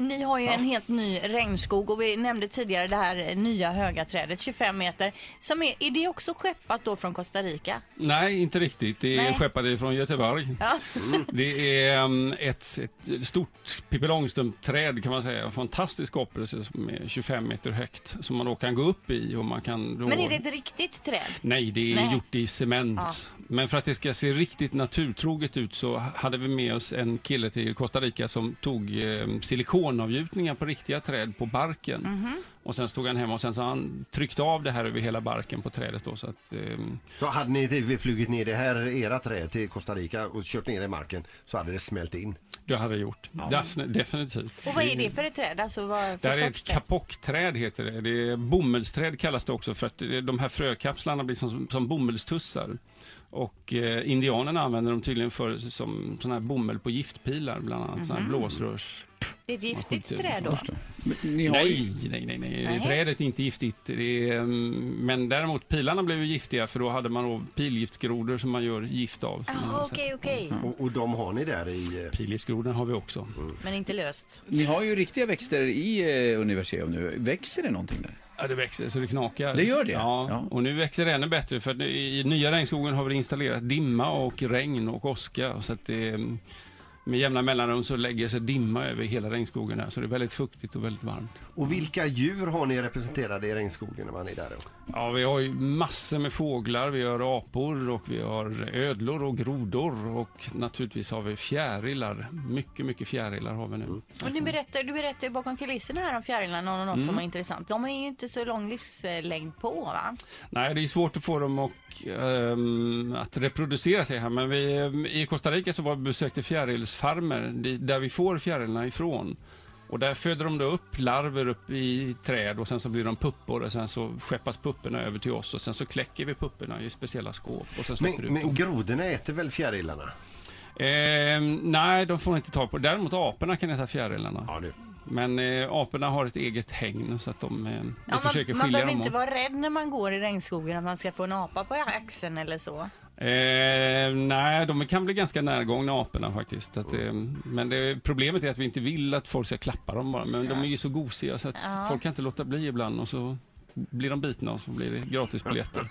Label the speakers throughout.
Speaker 1: Ni har ju en helt ny regnskog och vi nämnde tidigare det här eh, nya höga trädet, 25 meter. Som är, är det också skeppat då från Costa Rica?
Speaker 2: Nej, inte riktigt. Det är
Speaker 1: Nej.
Speaker 2: skeppade från Göteborg. Mm.
Speaker 1: Ja.
Speaker 2: Det är um, ett, ett stort Pippi Långstrump-träd kan man säga. En fantastisk skapelse som är 25 meter högt som man då kan gå upp i och man kan då...
Speaker 1: Men är det ett riktigt träd?
Speaker 2: Nej, det är
Speaker 1: Nej.
Speaker 2: gjort i cement.
Speaker 1: Ja.
Speaker 2: Men för att det ska se riktigt naturtroget ut så hade vi med oss en kille till Costa Rica som tog eh, silikonavgjutningar på riktiga träd på barken.
Speaker 1: Mhm.
Speaker 2: Och sen stod han hemma och sen så han tryckte av det här över hela barken på trädet då så att... ehm,
Speaker 3: Så hade ni typ flugit ner det här era träd till Costa Rica och kört ner det i marken så hade det smält in.
Speaker 2: Det hade jag gjort. Defin- definitivt.
Speaker 1: Och vad är det för ett träd? Alltså vad
Speaker 2: Det
Speaker 1: för
Speaker 2: här är
Speaker 1: sorts
Speaker 2: ett
Speaker 1: träd?
Speaker 2: kapockträd heter det. det är, bomullsträd kallas det också för att det- de här frökapslarna blir som, som bomullstussar. Och eh, indianerna använder dem tydligen för som sån här bomull på giftpilar bland annat. Sån här
Speaker 1: Mhm.
Speaker 2: blåsrörs...
Speaker 1: Det är ett giftigt
Speaker 2: Skit i det.
Speaker 1: träd då?
Speaker 2: Nej, nej, nej, nej.
Speaker 1: Nej.
Speaker 2: Trädet är inte giftigt. Det är, mm, men däremot pilarna blev ju giftiga för då hade man då pilgiftsgrodor som man gör gift av. som man
Speaker 1: Ah,
Speaker 2: har
Speaker 1: Okej,
Speaker 2: sett.
Speaker 1: okej.
Speaker 3: Och, och de har ni där i... eh,
Speaker 2: Pilgiftsgrodorna har vi också.
Speaker 1: Men inte löst.
Speaker 4: Ni har ju riktiga växter i eh, Universium nu. Växer det någonting där?
Speaker 2: Ja, det växer så det knakar.
Speaker 4: Det gör det?
Speaker 2: Ja,
Speaker 4: Ja.
Speaker 2: och nu växer det ännu bättre för att i i nya regnskogen har vi installerat dimma och regn och åska. Så att det, eh, med jämna mellanrum så lägger sig dimma över hela regnskogen här, så det är väldigt fuktigt och väldigt varmt.
Speaker 3: Och vilka djur har ni representerade i regnskogen när man är där?
Speaker 2: Ja, vi har ju massor med fåglar, vi har apor och vi har ödlor och grodor och naturligtvis har vi fjärilar. Mycket, mycket fjärilar har vi nu.
Speaker 1: Och ni berättar, du berättar ju bakom kulisserna här om fjärilarna och något
Speaker 2: Mm.
Speaker 1: som var intressant. De är ju inte så lång livslängd på va?
Speaker 2: Nej, det är svårt att få dem och, ehm, att reproducera sig här. Men vi, ehm, i Costa Rica så var vi besökte fjärilsfarmer di- där vi får fjärilarna ifrån. Och där föder de då upp larver upp i träd och sen så blir de puppor och sen så skeppas pupporna över till oss och sen så kläcker vi pupporna i speciella skåp och sen släpper
Speaker 3: Men,
Speaker 2: vi ut dem.
Speaker 3: men grodorna äter väl fjärilarna?
Speaker 2: Ehm, nej, de får inte ta på. Däremot aporna kan äta fjärilarna.
Speaker 3: Ja, du.
Speaker 2: Men eh, aporna har ett eget hägn så att de, eh, vi försöker
Speaker 1: man, man
Speaker 2: skilja
Speaker 1: behöver
Speaker 2: dem
Speaker 1: inte
Speaker 2: åt.
Speaker 1: vara rädd när man går i regnskogen att man ska få en apa på axeln eller så.
Speaker 2: Eh, nej, de kan bli ganska närgångna aporna faktiskt. Så Att, eh, men det, problemet är att vi inte vill att folk ska klappa dem bara. Men de är ju så gosiga så att
Speaker 1: Ja.
Speaker 2: folk kan inte låta bli ibland och så blir de bitna och så blir det gratisbiljetter.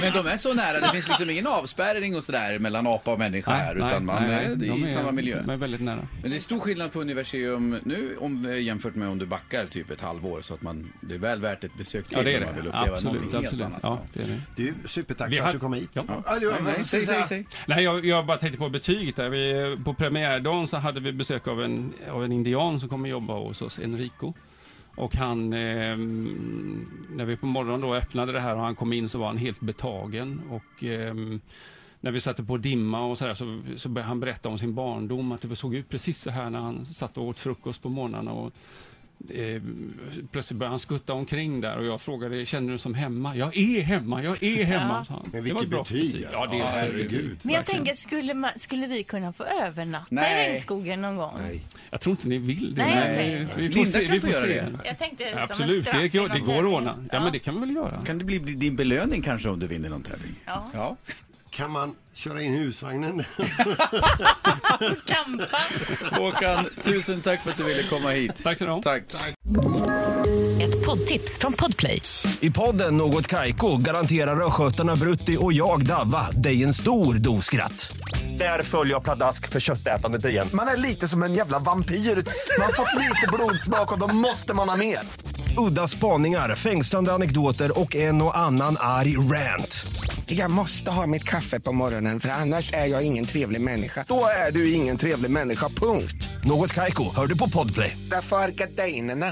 Speaker 4: Men de är så nära, det finns liksom ingen avspärrning och sådär mellan apa och människa här, utan man är
Speaker 2: de
Speaker 4: i samma miljö.
Speaker 2: De är väldigt nära.
Speaker 4: Men det är stor skillnad på Universium nu om, eh, jämfört med om du backar typ ett halvår så att man, det är väl värt ett besök till
Speaker 2: Ja, det är
Speaker 4: om man vill
Speaker 2: det.
Speaker 4: uppleva
Speaker 2: Absolut,
Speaker 4: någonting
Speaker 2: absolut.
Speaker 4: helt
Speaker 2: Ja,
Speaker 4: annat.
Speaker 2: det är det.
Speaker 3: du supertack
Speaker 2: Vi
Speaker 3: för
Speaker 2: har-
Speaker 3: att du kom hit.
Speaker 2: Ja.
Speaker 3: Ja, du,
Speaker 4: Nej,
Speaker 3: vad
Speaker 4: nej,
Speaker 3: ska
Speaker 4: säg,
Speaker 3: vi
Speaker 4: säg,
Speaker 3: säga?
Speaker 4: säg.
Speaker 2: Nej, jag, jag bara tänkte på betyget där. Vi, på premiärdagen så hade vi besök av en, av en indian som kommer jobba hos oss, Enrico. Och han, eh, när vi på morgonen då öppnade det här och han kom in så var han helt betagen. Och eh, när vi satte på dimma och så, här, så, så började han berätta om sin barndom, att det såg ut precis så här när han satt och åt frukost på morgnarna. Och, eh, plötsligt började han skutta omkring där och jag frågade, känner du dig som hemma? Jag är hemma, jag är hemma, sa han.
Speaker 3: Men
Speaker 2: Det var
Speaker 3: vilket
Speaker 2: ett bra
Speaker 3: betyg, alltså.
Speaker 2: Ja, det
Speaker 3: Ja,
Speaker 2: är
Speaker 3: herregud.
Speaker 1: Men jag
Speaker 2: Verkligen.
Speaker 1: tänker, skulle, man, skulle vi kunna få övernatta i
Speaker 4: Nej.
Speaker 1: regnskogen någon gång?
Speaker 3: Nej.
Speaker 2: Jag tror inte ni vill det.
Speaker 1: Nej,
Speaker 2: men
Speaker 1: okej.
Speaker 2: Vi får
Speaker 4: Linda
Speaker 2: se.
Speaker 4: kan
Speaker 2: Vi får
Speaker 4: få göra
Speaker 2: se.
Speaker 4: det.
Speaker 1: Jag tänkte som en
Speaker 2: Absolut,
Speaker 1: straff
Speaker 2: det, går-
Speaker 1: eller
Speaker 2: det går att
Speaker 1: någonting.
Speaker 2: ordna. Ja, men det kan vi väl göra.
Speaker 4: Kan det bli din belöning kanske om du vinner någon tävling?
Speaker 1: Ja.
Speaker 4: ja.
Speaker 3: Kan man köra in husvagnen?
Speaker 1: Kampa.
Speaker 4: Håkan, tusen tack för att du ville komma hit.
Speaker 2: Tack så du ha.
Speaker 4: Tack.
Speaker 5: Ett poddtips från Podplay.
Speaker 6: I podden Något Kaiko garanterar östgötarna Brutti och jag, Davva, dig en stor dos skratt. Där följer jag pladask för köttätandet igen.
Speaker 7: Man är lite som en jävla vampyr. Man har fått lite blodsmak och då måste man ha mer.
Speaker 6: Udda spaningar, fängslande anekdoter och en och annan arg rant.
Speaker 7: Jag måste ha mitt kaffe på morgonen för annars är jag ingen trevlig människa. Då är du ingen trevlig människa, punkt.
Speaker 6: Något Kaiko, hör du på Podplay.
Speaker 7: Därför arkadeinerna.